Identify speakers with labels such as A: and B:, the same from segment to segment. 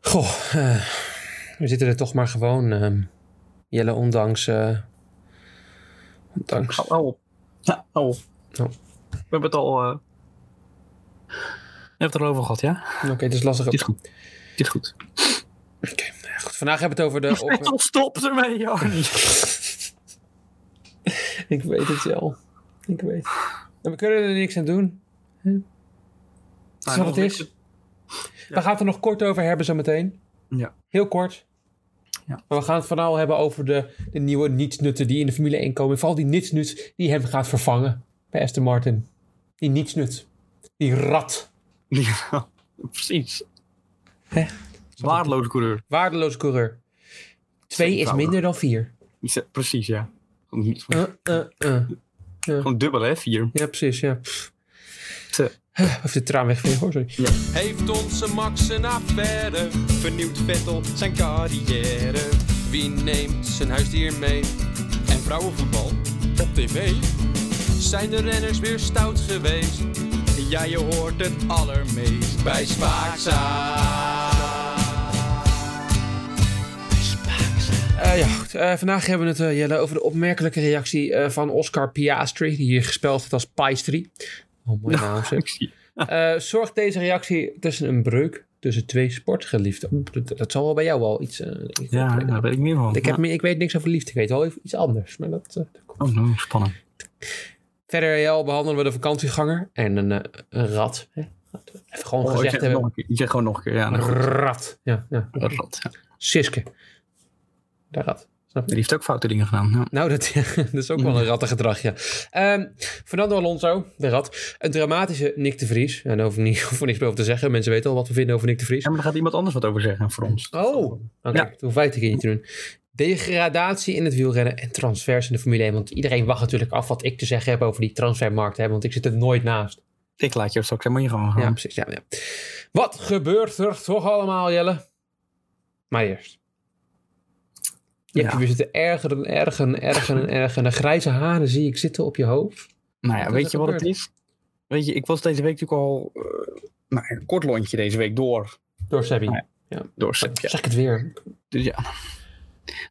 A: Goh, eh, we zitten er toch maar gewoon, ehm, Jelle, ondanks... eh, ondanks...
B: Au, au.
C: Ja, oh.
B: We hebben het al. eh,
C: Je hebt het erover gehad, ja?
A: Oké, het is lastig.
C: Dit is
A: Oké,
C: goed. Dit is goed.
A: nou ja, goed. Vandaag hebben we het over de... op-
B: Metal, stop ermee,
C: Nou,
B: Jarni.
A: Ik weet het wel. Ik weet het. En we kunnen er niks aan doen. Hm. Het is
B: Nou,
A: wat
B: nog
A: het is.
B: niks.
A: We gaan het er nog kort over hebben zo meteen.
C: Ja.
A: Heel kort.
C: Ja.
A: Maar we gaan het vooral hebben over de, de nieuwe nietsnutten die in de Formule 1 komen. Vooral die nietsnut die hem gaat vervangen bij Aston Martin. Die nietsnut. Die rat.
C: Ja, Precies.
A: Hè?
C: Waardeloze coureur.
A: Waardeloze coureur. Twee is
C: Eenvoudig.
A: minder dan vier.
C: Die zet- Precies, ja. Gewoon-
A: Eh, eh, eh.
C: Gewoon dubbel, hè? Vier.
A: Ja, precies. Ja. Pff.
C: Te.
A: Of de traan wegvegen hoor, sorry.
D: Heeft onze Max een affaire? Vernieuwt Vettel zijn carrière? Wie neemt zijn huisdier mee? En vrouwenvoetbal op tv? Zijn de renners weer stout geweest? Ja, je hoort het allermeest bij Spaakzaam.
A: Eh, ja, goed. Eh, vandaag hebben we het, eh, Jelle, over de opmerkelijke reactie eh, van Oscar Piastri, die hier gespeld wordt als Piastri. Oh, mooie naam zeg.
C: Zie-
A: Eh, zorgt deze reactie tussen een breuk tussen twee sportgeliefden? Dat, dat zal wel bij jou wel iets... eh, ik-
C: Ja,
A: ik-
C: daar weet ik meer van.
A: ik, heb, meer- ik weet niks over liefde, ik weet wel even iets anders. Maar dat, eh, dat komt.
C: Oh, nou, spannend.
A: Verder, Jelle, behandelen we de vakantieganger en een, eh, een rat. Hè? Even gewoon
C: Oh, ik
A: gezegd
C: zeg het nog
A: hebben.
C: een keer. Ik zeg gewoon nog een keer. Ja,
A: Een
C: nou, goed.
A: rat. Ja, ja.
C: Dat rat, ja.
A: Siske. De rat. Snap je?
C: Die heeft ook foute dingen gedaan. Ja.
A: Nou, dat, dat is ook wel een rattengedrag, ja. Ehm, Fernando Alonso, de rat. Een dramatische Nick de Vries. En daar hoef ik niet- hoef ik niks meer over te zeggen. Mensen weten al wat we vinden over Nick de Vries.
C: Ja, maar daar gaat iemand anders wat over zeggen voor ons.
A: Oh, oké.
C: Ja.
A: Toen vijfde keer niet te doen. Degradatie in het wielrennen en transfers in de Formule 1. Want iedereen wacht natuurlijk af wat ik te zeggen heb over die transfermarkt. Hè, want ik zit er nooit naast.
C: Ik laat je straks helemaal hier gewoon gaan.
A: Ja, precies. Ja, ja. Wat gebeurt er toch allemaal, Jelle? Maar eerst. Je hebt
C: Ja.
A: je weer zitten erger en erger en erger en erger. En de grijze haren zie ik zitten op je hoofd.
C: Nou ja,
A: Wat is
C: weet
A: er
C: je wat het
A: gebeurd?
C: is? Weet je, ik was deze week natuurlijk al... eh, nou, een kort lontje deze week door.
A: Door Sebby.
C: Nee. Door Sepp, ja.
A: Zeg ik het weer.
C: Dus ja.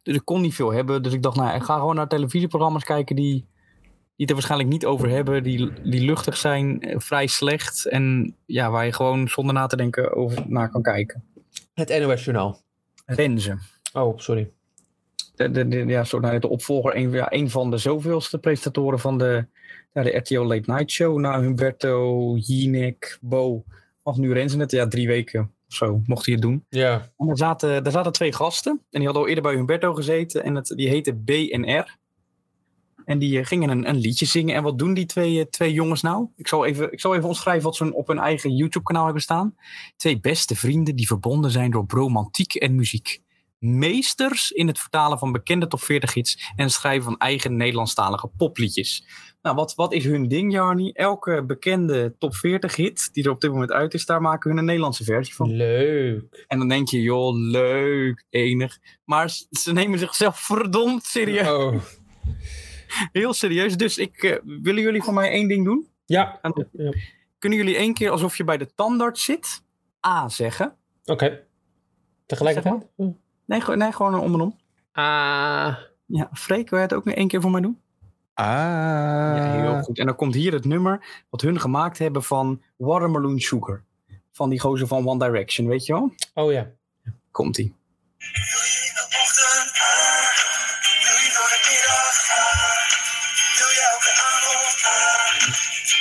C: Dus ik kon niet veel hebben. Dus ik dacht, nou, ik ga gewoon naar televisieprogramma's kijken die, die het er waarschijnlijk niet over hebben. Die, die luchtig zijn, eh, vrij slecht. En ja, waar je gewoon zonder na te denken over naar kan kijken.
A: Het NOS Journaal.
C: Renzen.
A: Oh, sorry.
C: De, de, de, ja, zo, nou, de opvolger, een, ja, een van de zoveelste presentatoren van de, ja, de RTO Late Night Show. Na Humberto, Jinek, Bo. Of nu Renzen het, ja, drie weken of zo mocht hij het doen.
A: Ja.
C: En daar zaten, daar zaten twee gasten. En die hadden al eerder bij Humberto gezeten. En het, die heette BNR. En die eh, gingen een, een liedje zingen. En wat doen die twee, eh, twee jongens nou? Ik zal, even, ik zal even omschrijven wat ze op hun eigen YouTube-kanaal hebben staan. Twee beste vrienden die verbonden zijn door romantiek en muziek. Meesters in het vertalen van bekende top 40 hits. En het schrijven van eigen Nederlandstalige popliedjes. Nou, wat, wat is hun ding, Jarni? Elke bekende top 40 hit die er op dit moment uit is, daar maken hun een Nederlandse versie van.
A: Leuk.
C: En dan denk je, joh, leuk, enig. Maar s- ze nemen zichzelf verdomd serieus.
A: Oh.
C: Heel serieus. Dus ik, eh, willen jullie voor mij één ding doen?
A: Ja.
C: En-
A: Ja. Oké.
C: Kunnen jullie één keer alsof je bij de tandarts zit? A zeggen.
A: Tegelijkertijd?
C: Nee, gewoon- nee gewoon om en om.
A: Ah.
C: Ja, Freek, wil jij het ook nog één keer voor mij doen?
D: Ah.
C: Ja, heel goed. En dan komt hier het nummer wat hun gemaakt hebben van Watermelon Sugar. Van die gozer van One Direction, weet je wel?
A: Oh ja.
C: Komt-ie.
E: ochtend aan? Wil je door de middag aan? Wil je elke avond aan?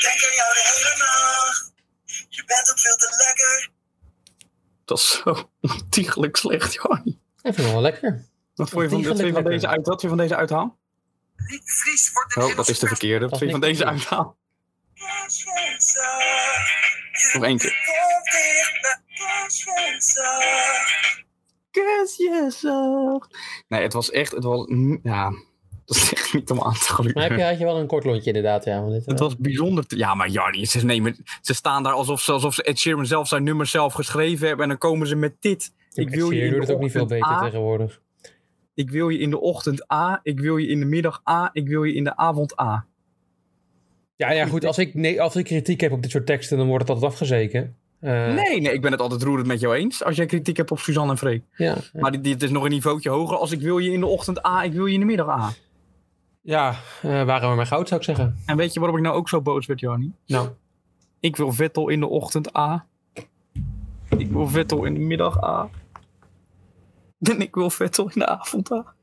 E: Denk aan jou de hele nacht. Je bent ook veel te lekker.
C: Dat is zo ontiegelijk slecht, Johnny.
A: Ik vind het wel lekker.
C: Wat vond je van, wat vind je van, deze, uit, wat vind je van deze uithaal?
E: Niet de Vries wordt de
C: Oh, dat is de verkeerde. Wat vind je van deze uithaal? Nog één keer.
E: Kom dichter, Kerstwinter.
C: Kus jezelf. Nee, het was echt, het was, mm, ja, dat is echt niet om aan te geluiden.
A: Maar heb je, had je wel een kort lontje inderdaad, ja. Want dit,
C: Het
A: eh,
C: was bijzonder. te- Ja, maar Jarnie, ze, nemen, ze staan daar alsof ze, alsof ze Ed Sheeran zelf zijn nummer zelf geschreven hebben. En dan komen ze met dit.
A: ik wil eh, je doet het ook niet veel
C: ochtend
A: beter
C: A,
A: tegenwoordig.
C: Ik wil je in de ochtend A. Ik wil je in de middag A. Ik wil je in de avond A.
A: Ja, ja, goed. Als ik, nee, als ik kritiek heb op dit soort teksten, dan wordt het altijd afgezeken. Eh,
C: Nee, nee, ik ben het altijd roerend met jou eens. Als jij kritiek hebt op Suzanne en Freek.
A: Ja,
C: Maar dit, dit is nog een niveautje hoger als ik wil je in de ochtend A, ik wil je in de middag A.
A: ja eh, waren we maar goud, zou ik zeggen.
C: En weet je waarom ik nou ook zo boos werd, Johnny?
A: Nou,
C: Ik wil Vettel in de ochtend A. Ik wil Vettel in de middag A. En ik wil Vettel in de avond A.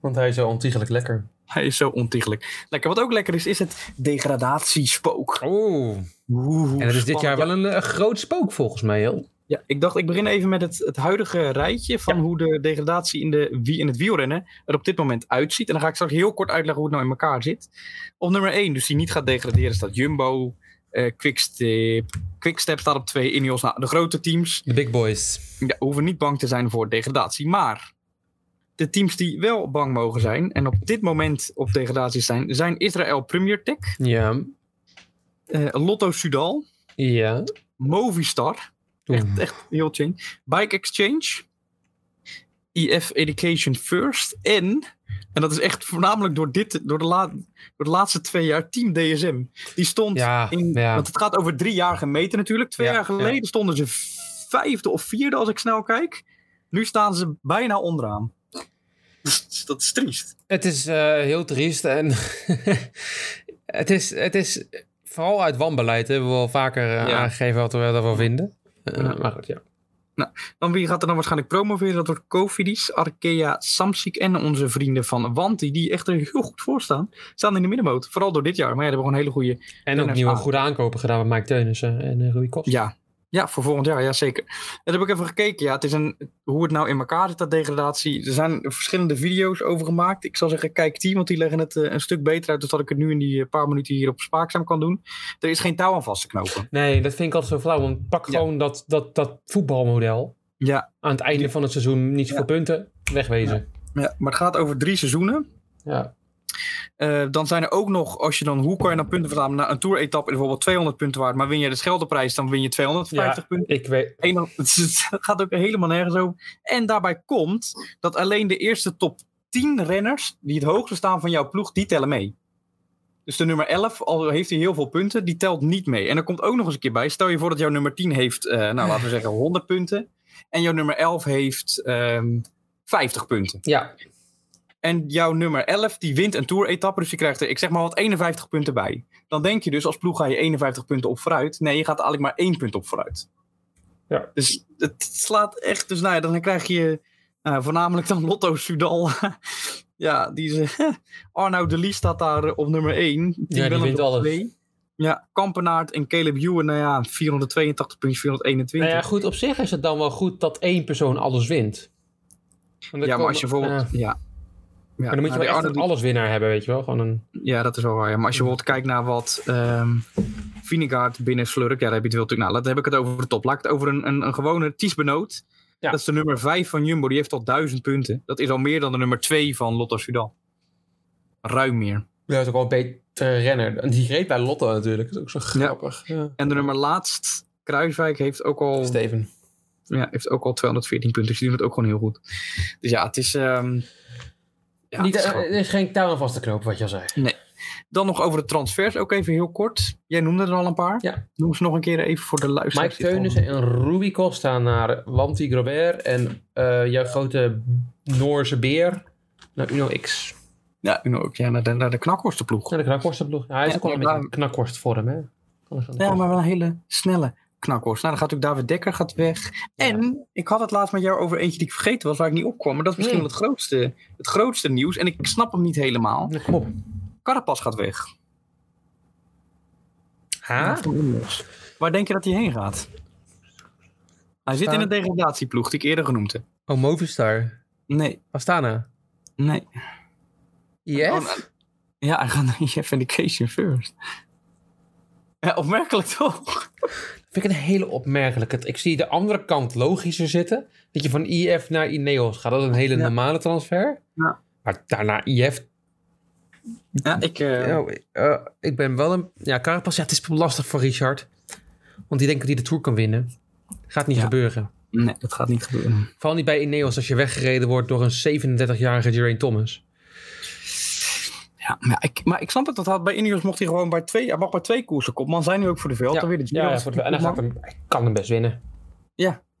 A: want hij is zo ontiegelijk lekker.
C: Hij is zo ontiegelijk. Lekker. Wat ook lekker is, is het degradatiespook.
A: Oeh.
C: Oeh,
A: En het is dit
C: spannend.
A: jaar wel een, eh, groot spook volgens mij, joh.
C: Ja, ik dacht, ik begin even met het, het huidige rijtje van hoe de degradatie in, de, wie- in het wielrennen er op dit moment uitziet. En dan ga ik straks heel kort uitleggen hoe het nou in elkaar zit. Op nummer 1, dus die niet gaat degraderen, staat Jumbo. eh Quickstep. Quickstep staat op 2, Ineos. Nou, de grote teams
A: De big boys.
C: ja, hoeven niet bang te zijn voor degradatie. Maar de teams die wel bang mogen zijn en op dit moment op degradatie zijn, zijn Israël Premier Tech,
A: Ja.
C: eh, Lotto Sudal,
A: Ja.
C: Movistar,
A: Oeh.
C: Echt, echt heel change. Bike Exchange. EF Education First. En, en dat is echt voornamelijk door, dit, door, de, la, door de laatste twee jaar, Team DSM. Die stond
A: Ja,
C: in...
A: ja.
C: Want het gaat over drie jaar gemeten natuurlijk. Twee
A: Ja,
C: jaar geleden
A: ja.
C: stonden ze vijfde of vierde als ik snel kijk. Nu staan ze bijna onderaan. Dus dat is triest.
A: Het is eh, heel triest en het, is, het is vooral uit wanbeleid. hè, Hebben we wel vaker eh,
C: Ja.
A: aangegeven wat we daarvan vinden. Eh, Maar goed, ja.
C: Dan wie gaat er dan waarschijnlijk promoveren? Dat wordt Cofidis, Arkea, Samsic en onze vrienden van Wanti. Die echt er heel goed voor staan. Staan in de middenmoot. Vooral door dit jaar. Maar ja, die hebben gewoon hele goede
A: En ook
C: Teunissen
A: nieuwe
C: aan.
A: goede aankopen gedaan met Mike Teunissen en eh, Rui Kost.
C: Ja. ja, voor volgend jaar, ja zeker. Dat heb ik even gekeken. Ja, het is een, hoe het nou in elkaar zit, dat degradatie. Er zijn verschillende video's over gemaakt. Ik zal zeggen, kijk die, want die leggen het eh, een stuk beter uit. Dus dat ik het nu in die eh, paar minuten hier op spaakzaam kan doen. Er is geen touw aan vast te knopen.
A: Nee, dat vind ik altijd zo flauw. Want pak
C: Ja.
A: gewoon dat, dat, dat voetbalmodel.
C: Ja,
A: Aan het einde van het seizoen niet zoveel punten. Wegwezen.
C: ja, maar het gaat over drie seizoenen.
A: Ja.
C: Eh, dan zijn er ook nog, als je dan, hoe kan je dan punten verzamelen? Nou, een tour-etappe is bijvoorbeeld 200 punten waard. Maar win je de Scheldeprijs, dan win je 250 punten.
A: Ik weet...
C: Eén- Het gaat ook helemaal nergens over. En daarbij komt dat alleen de eerste top 10 renners die het hoogste staan van jouw ploeg, die tellen mee. Dus de nummer 11, al heeft hij heel veel punten, die telt niet mee. En er komt ook nog eens een keer bij. Stel je voor dat jouw nummer 10 heeft, eh, nou laten we zeggen 100 punten. En jouw nummer 11 heeft ehm 50 punten.
A: Ja.
C: En jouw nummer 11, die wint een tour-etappe. Dus je krijgt er, ik zeg maar wat, 51 punten bij. Dan denk je dus, als ploeg ga je 51 punten op vooruit. Nee, je gaat er eigenlijk maar één punt op vooruit.
A: Ja.
C: Dus het slaat echt... Dus nou ja, dan krijg je eh, voornamelijk dan Lotto Sudal. ja, die is... Arnoud de Lee staat daar eh, op nummer 1.
A: die wint alles.
C: Ja, Kampenaard en Caleb Ewan, nou ja, 482 punten, 421.
A: Nou ja, goed. Op zich is het dan wel goed dat één persoon alles wint. Want dan
C: ja, maar
A: komen-
C: als je bijvoorbeeld...
A: Ja.
C: Ja. Ja.
A: Eh. Maar dan moet je
C: nou,
A: wel
C: die
A: echt een
C: Arnoud die-
A: alleswinnaar hebben, weet je wel. Gewoon een...
C: Ja, dat is wel waar. Ja. Maar als je bijvoorbeeld kijkt naar wat ehm Vinegaard binnen slurkt, ja, daar heb je het wel natuurlijk. Nou, laat heb ik het over de top. Laat ik het over een, een, een gewone Ties Benoot.
A: Ja.
C: Dat is de nummer 5 van Jumbo. Die heeft al 1000 punten. Dat is al meer dan de nummer 2 van Lotto Sudal. Ruim meer.
A: Ja, is ook wel een betere renner. Die reed bij Lotte natuurlijk. Dat is ook zo grappig. Ja.
C: En de nummer laatst, Kruiswijk, heeft ook al,
A: Steven.
C: ja, heeft ook al 214 punten. Dus die doen het ook gewoon heel goed. Dus ja, het is. ehm, ja,
A: Niet,
C: het is
A: eh,
C: gewoon-
A: er is geen touw aan vast te knopen, wat je al zei.
C: Dan nog over de transfers, ook even heel kort. Jij noemde er al een paar.
A: Ja.
C: Noem ze nog een keer even voor de luisteraars.
A: Mike Teunissen en Ruby Costa naar Wanty Grobert en eh, jouw grote Noorse beer naar Uno X.
C: Ja, Uno ook. Ja, naar de, naar de knakworstenploeg.
A: Naar de knakworstenploeg. Ja, hij is
C: Ja,
A: ook wel een
C: ja,
A: beetje
C: maar-
A: een knakworstvorm, hè?
C: Ja, maar wel een hele snelle knakworst. Nou, dan gaat ook David Dekker gaat weg. En ik had het laatst met jou over eentje die ik vergeten was, waar ik niet op kwam. Maar dat is misschien
A: Nee.
C: wel het grootste, het grootste nieuws. En ik snap hem niet helemaal.
A: Ja, Kom op.
C: Carapas gaat weg.
A: Ha?
C: Van Ineos. Waar denk je dat hij heen gaat? Hij zit in de degradatieploeg die ik eerder genoemd heb.
A: Oh, Movistar.
C: Nee,
A: Astana.
C: nee. Oh, nou,
A: IF?
C: Ja, hij gaat naar Jeff Indication first. Ja, opmerkelijk toch?
A: Vind ik een hele opmerkelijke. Ik zie de andere kant logischer zitten. Dat je van IF naar Ineos gaat. Dat is een hele
C: Ja.
A: normale transfer.
C: Ja.
A: Maar daarna IF
C: Ja, ik... eh,
A: Ja, eh, ik ben wel een... Ja, Carapaz, ja, het is lastig voor Richard. Want die denkt dat hij de Tour kan winnen. Gaat niet
C: Ja.
A: gebeuren.
C: Nee, dat gaat niet gebeuren.
A: Vooral niet bij Ineos als je weggereden wordt door een 37-jarige Geraint Thomas.
C: Ja, maar, ik, maar ik snap het. Dat had, bij Ineos mocht hij gewoon bij twee, hij mag bij twee koersen kopman zijn. Nu ook voor de Vuelta weer. de Giro
A: ja,
C: was
A: voor de- en dan
C: kopman.
A: gaat hem, hij kan hem best winnen.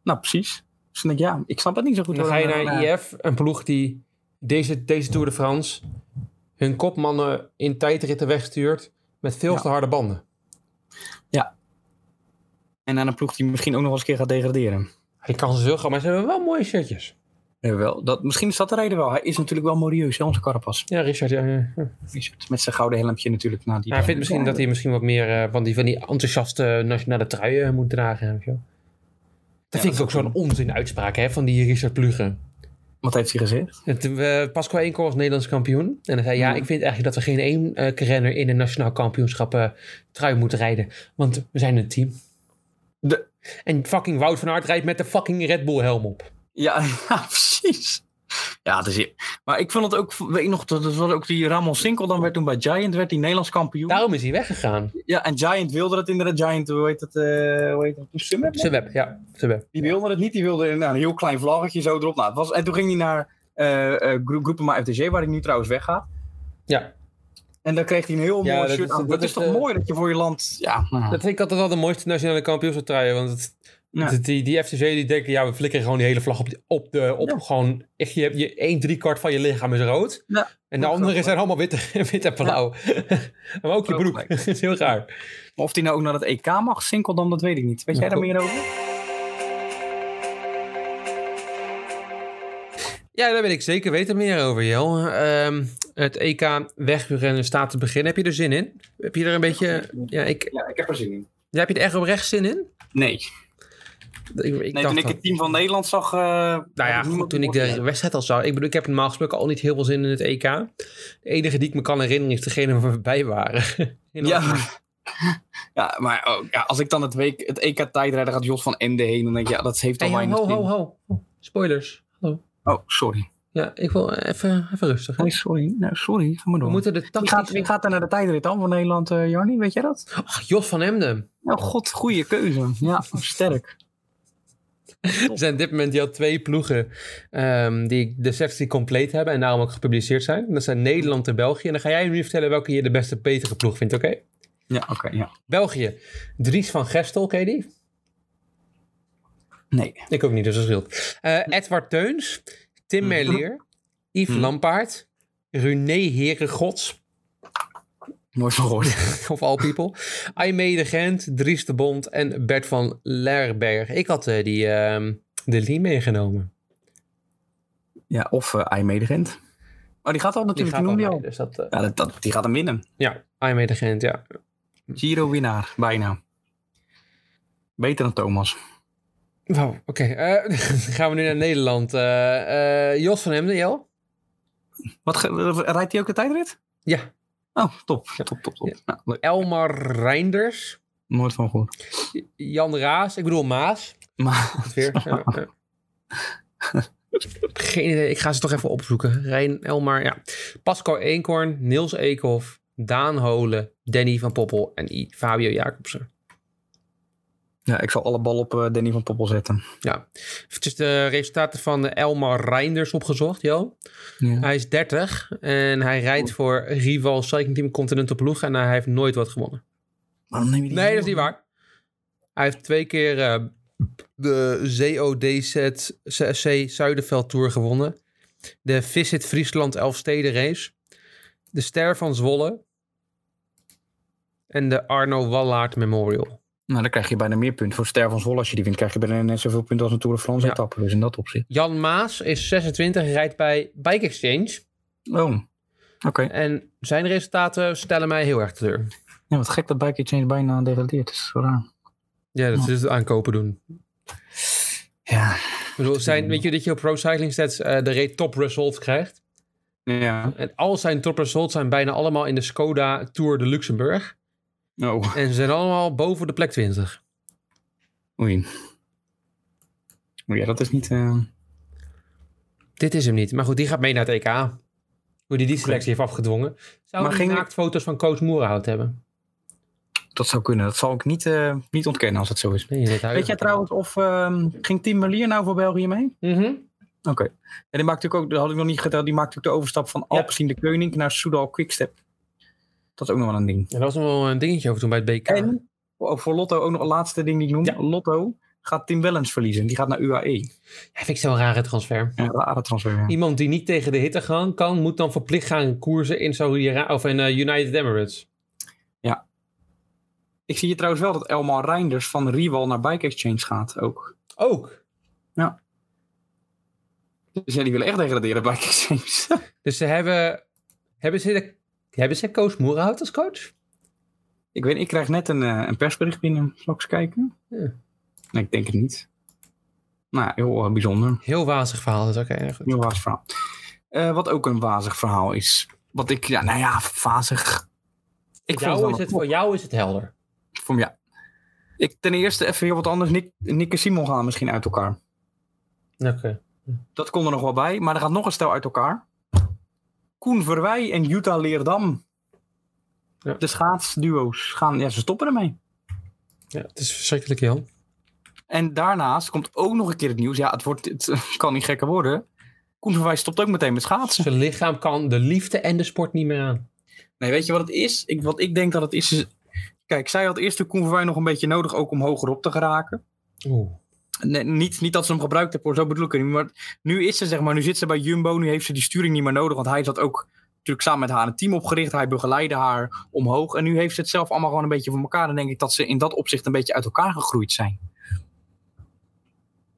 C: Nou, precies. Dus dan denk ik, ja, ik snap het niet zo goed.
A: Dan
C: hoor.
A: ga je
C: Dan,
A: naar
C: eh,
A: IF, een ploeg die deze, deze Tour de France hun kopmannen in tijdritten wegstuurt met veel
C: Ja.
A: te harde banden.
C: En aan een ploeg die misschien ook nog eens een keer gaat degraderen.
A: Die kansen zijn zo groot, maar ze hebben wel mooie shirtjes.
C: Jawel, dat, misschien is dat de reden wel. Hij is natuurlijk wel morieus, hè, onze Carapas.
A: Ja, Richard, ja, ja. ja.
C: Met zijn gouden helmpje natuurlijk. Na die eh,
A: Hij vindt misschien dat hij misschien wat meer eh, van, die, van die enthousiaste nationale truien moet dragen. Weet je wel. Dat vind
C: dat
A: ik ook zo'n onzin uitspraak hè, van die Richard Plugen.
C: Wat heeft hij gezegd?
A: Het, eh, Pascal Enkel was Nederlands kampioen. En hij zei, ja,
C: Ja.
A: ik vind eigenlijk dat we geen één eh, renner in een nationaal kampioenschap eh, trui moeten rijden. Want we zijn een team.
C: De-
A: En fucking Wout van Aert rijdt met de fucking Red Bull helm op.
C: Ja, ja precies. Ja, het is... Maar ik vond het ook... Weet je nog, dat dat was ook die Ramon Sinkel dan werd toen bij Giant. Werd die Nederlands kampioen.
A: Daarom is hij weggegaan.
C: Ja, en Giant wilde dat inderdaad. Giant, hoe heet dat? eh hoe heet dat? Sunweb?
A: Ze web, ja. Ze web.
C: Die wilde het niet. Die wilde nou, een heel klein vlaggetje zo erop. Nou, het was, en toen ging hij naar eh eh Gro- Groepema FDG, waar hij nu trouwens weggaat.
A: Ja,
C: En dan kreeg hij een heel
A: Ja,
C: mooi
A: dat
C: shirt
A: is-
C: aan.
A: dat
C: Dat,
A: is
C: is toch
A: de-
C: mooi dat je voor je land... Ja, nou,
A: dat vind ik altijd wel de mooiste nationale kampioenschaptrui. Want het,
C: Ja.
A: het- die, die FCC die denken, ja, we flikkeren gewoon die hele vlag op. die- op, de, op
C: Ja.
A: gewoon, echt, je, je één driekwart van je lichaam is rood.
C: Ja.
A: En de
C: Dat
A: andere
C: klopt,
A: zijn allemaal wit, wit en blauw. maar ook je
C: Ook
A: broek.
C: gelijk.
A: Dat is heel raar.
C: Maar Of die nou ook naar het EK mag, Sinkeldam, dat weet ik niet. Weet jij daar
A: Nou,
C: meer over?
A: Ja, daar wil ik zeker weten meer over, Jel. Ehm, het EK wegrennen staat te beginnen. Heb je er zin in? Heb je er een beetje... Ja, ik,
C: Ja, ik heb er zin in.
A: ja, heb je er echt oprecht zin in?
C: Nee.
A: Ik, ik
C: nee
A: dacht
C: toen ik
A: dat.
C: het team van Nederland zag... eh, had
A: Nou ja,
C: ik niemand
A: goed, toen ik
C: gehoord.
A: de wedstrijd al zag... Ik bedoel, ik heb normaal gesproken al niet heel veel zin in het EK. De enige die ik me kan herinneren is degene waar we bij waren.
C: Ja. ja, maar ook, ja, als ik dan het, week, het EK tijdrijden gaat Jos van Ende heen, dan denk ik, ja, dat heeft al
A: Hey, ho,
C: weinig
A: ho, ho,
C: zin.
A: ho. Spoilers. Hallo.
C: Oh, sorry.
A: Ja, ik wil even, even rustig. hè.
C: Nee, sorry. Nou, sorry. Ga maar
A: We
C: door.
A: moeten de
C: Wie gaat,
A: tactische...
C: wie gaat er naar de tijdrit dan voor Nederland, eh Jarny? Weet jij dat?
A: Ach, Jos van Emden.
C: Nou, god, goede keuze. Ja, sterk.
A: Er zijn op dit moment al twee ploegen ehm, die de safety compleet hebben en daarom ook gepubliceerd zijn. Dat zijn Nederland en België. En dan ga jij nu vertellen welke je de beste betere ploeg vindt, oké?
C: Ja, oké, ja.
A: België, Dries van Gestel, ken je die?
C: Nee.
A: Ik ook niet, dus dat scheelt. Eh, Edward Teuns, Tim
C: Mhm.
A: Merlier, Yves
C: Mhm.
A: Lampaard, René Herengods,
C: Nooit van gehoord.
A: of all people, Aimee de Gent, Dries de Bond en Bert van Lerberg. Ik had eh, die ehm de Lee meegenomen.
C: Ja, of eh I Medegent. Oh, die gaat al
A: Die
C: natuurlijk.
A: gaat
C: Die,
A: al
C: noemde je
A: mee,
C: al.
A: dus dat... eh,
C: Ja, dat, dat- die gaat hem winnen.
A: ja, Aimee de Gent, ja.
C: Giro-winnaar, bijna. Beter dan Thomas.
A: Wauw, oké. Eh, dan gaan we nu naar Nederland. Eh, eh, Jos van Hemden, Jel?
C: Wat, ge- rijdt hij ook de tijdrit?
A: Ja.
C: Oh, top. Top, top, top. Nou, leuk.
A: Elmar Reinders?
C: nooit van gehoord.
A: Jan Raas? Ik bedoel Maas.
C: Maar
A: Het weer. Ja, ja. Geen idee, ik ga ze toch even opzoeken. Rijn, Elmar, ja. Pascal Eenkorn, Niels Eekhoff, Daan Holen, Danny van Poppel en I- Fabio Jacobsen.
C: ja, ik zal alle bal op eh, Danny van Poppel zetten.
A: Ja. Eventjes de resultaten van de Elmar Reinders opgezocht, Jel.
C: Ja.
A: Hij is 30 en hij rijdt voor Rival Cycling Team Continental Ploeg en hij heeft nooit wat gewonnen.
C: Waarom neem je
A: Nee, dat is niet waar. Hij heeft twee keer eh, de CODZ CC Zuiderveld Tour gewonnen. De Visit Friesland Elfsteden Race. De Ster van Zwolle. En de Arno Wallaert Memorial.
C: Nou, dan krijg je bijna meer punten. Voor Ster van Zwolle, als je die wint, krijg je bijna net zoveel punten als een Tour de France
A: Ja.
C: etappe. Dus in dat opzicht.
A: Jan Maas is 26 en rijdt bij Bike Exchange.
C: Oh, oké.
A: En zijn resultaten stellen mij heel erg teleur.
C: Ja, wat gek dat Bike Exchange bijna degradeert. Dat is zo raar.
A: Ja, dat is het aankopen doen.
C: Ja.
A: Ik bedoel, zijn, weet je dat je op Pro Cycling Stats eh, de rate top results krijgt?
C: Ja.
A: En al zijn top results zijn bijna allemaal in de Skoda Tour de Luxemburg.
C: Oh,
A: En ze zijn allemaal boven de plek 20.
C: oei. Oei, ja, dat is niet... eh,
A: Dit is hem niet. Maar goed, die gaat mee naar het EK. Hoe die die selectie heeft afgedwongen. Zou
C: Maar
A: maar geen
C: ging-
A: naaktfoto's van Coach Moerhout hebben?
C: Dat zou kunnen. Dat zal ik niet, eh, niet ontkennen als het zo is.
A: Nee, dat
C: Weet jij trouwens of ehm, ging Tim Merlier nou voor België mee?
A: Mhm.
C: Oké. En die maakt natuurlijk ook, dat had ik nog niet geteld, die maakt natuurlijk de overstap van Alpecin de Koning naar Soudal Quickstep. Dat is ook nog wel een ding.
A: En daar was nog wel een dingetje over toen bij het BK.
C: En oh, voor Lotto ook nog een laatste ding die ik noem.
F: Ja.
C: Lotto gaat Tim Wellens verliezen. Die gaat naar UAE.
A: Ja, vind ik zo'n rare transfer.
C: Een rare transfer. ja.
A: Iemand die niet tegen de hitte gaan kan, moet dan verplicht gaan koersen in Saudi-Arabië of in eh, United Emirates.
C: Ik zie hier trouwens wel dat Elmar Reinders van Rival naar Bike Exchange gaat ook.
A: Ook.
C: Dus ja, die willen echt degraderen Bike Exchange.
A: Dus ze hebben. Hebben ze, de- hebben ze Koos Moerhout als coach?
C: ik weet, ik krijg net een, eh, een persbericht binnen. Zal ik eens kijken?
A: Ja.
C: Nee, ik denk het niet. Nou, heel eh, bijzonder.
A: Heel wazig verhaal. is Oké, ja, goed.
C: Heel wazig verhaal. Eh, wat ook een wazig verhaal is. Wat ik, ja, nou ja, wazig. Ik
A: Voor
C: vond
A: jou
C: wel
A: is het, voor jou is het helder.
C: Voor, ja. Ik, ten eerste even heel wat anders. Nick, Nick en Simon gaan misschien uit elkaar.
A: Oké.
C: Dat kon er nog wel bij. Maar er gaat nog een stel uit elkaar. Koen Verwij en Jutta Leerdam.
A: Ja.
C: De schaatsduo's gaan... Ja, ze stoppen ermee.
A: Ja, het is verschrikkelijk, Jan.
C: En daarnaast komt ook nog een keer het nieuws. Ja, het, wordt, het kan niet gekker worden. Koen Verwij stopt ook meteen met schaatsen.
A: Zijn lichaam kan de liefde en de sport niet meer aan.
C: Nee, weet je wat het is? Ik, wat ik denk dat het is... is- Kijk, zij had eerst de Koen Verwij nog een beetje nodig... ook om hoger op te geraken.
A: Oeh.
C: Nee, niet, niet dat ze hem gebruikt hebben, hoor, zo bedoel ik het niet. Maar nu is ze, zeg maar, nu zit ze bij Jumbo, nu heeft ze die sturing niet meer nodig. Want hij zat ook natuurlijk samen met haar een team opgericht. Hij begeleidde haar omhoog. En nu heeft ze het zelf allemaal gewoon een beetje voor elkaar. En denk ik dat ze in dat opzicht een beetje uit elkaar gegroeid zijn.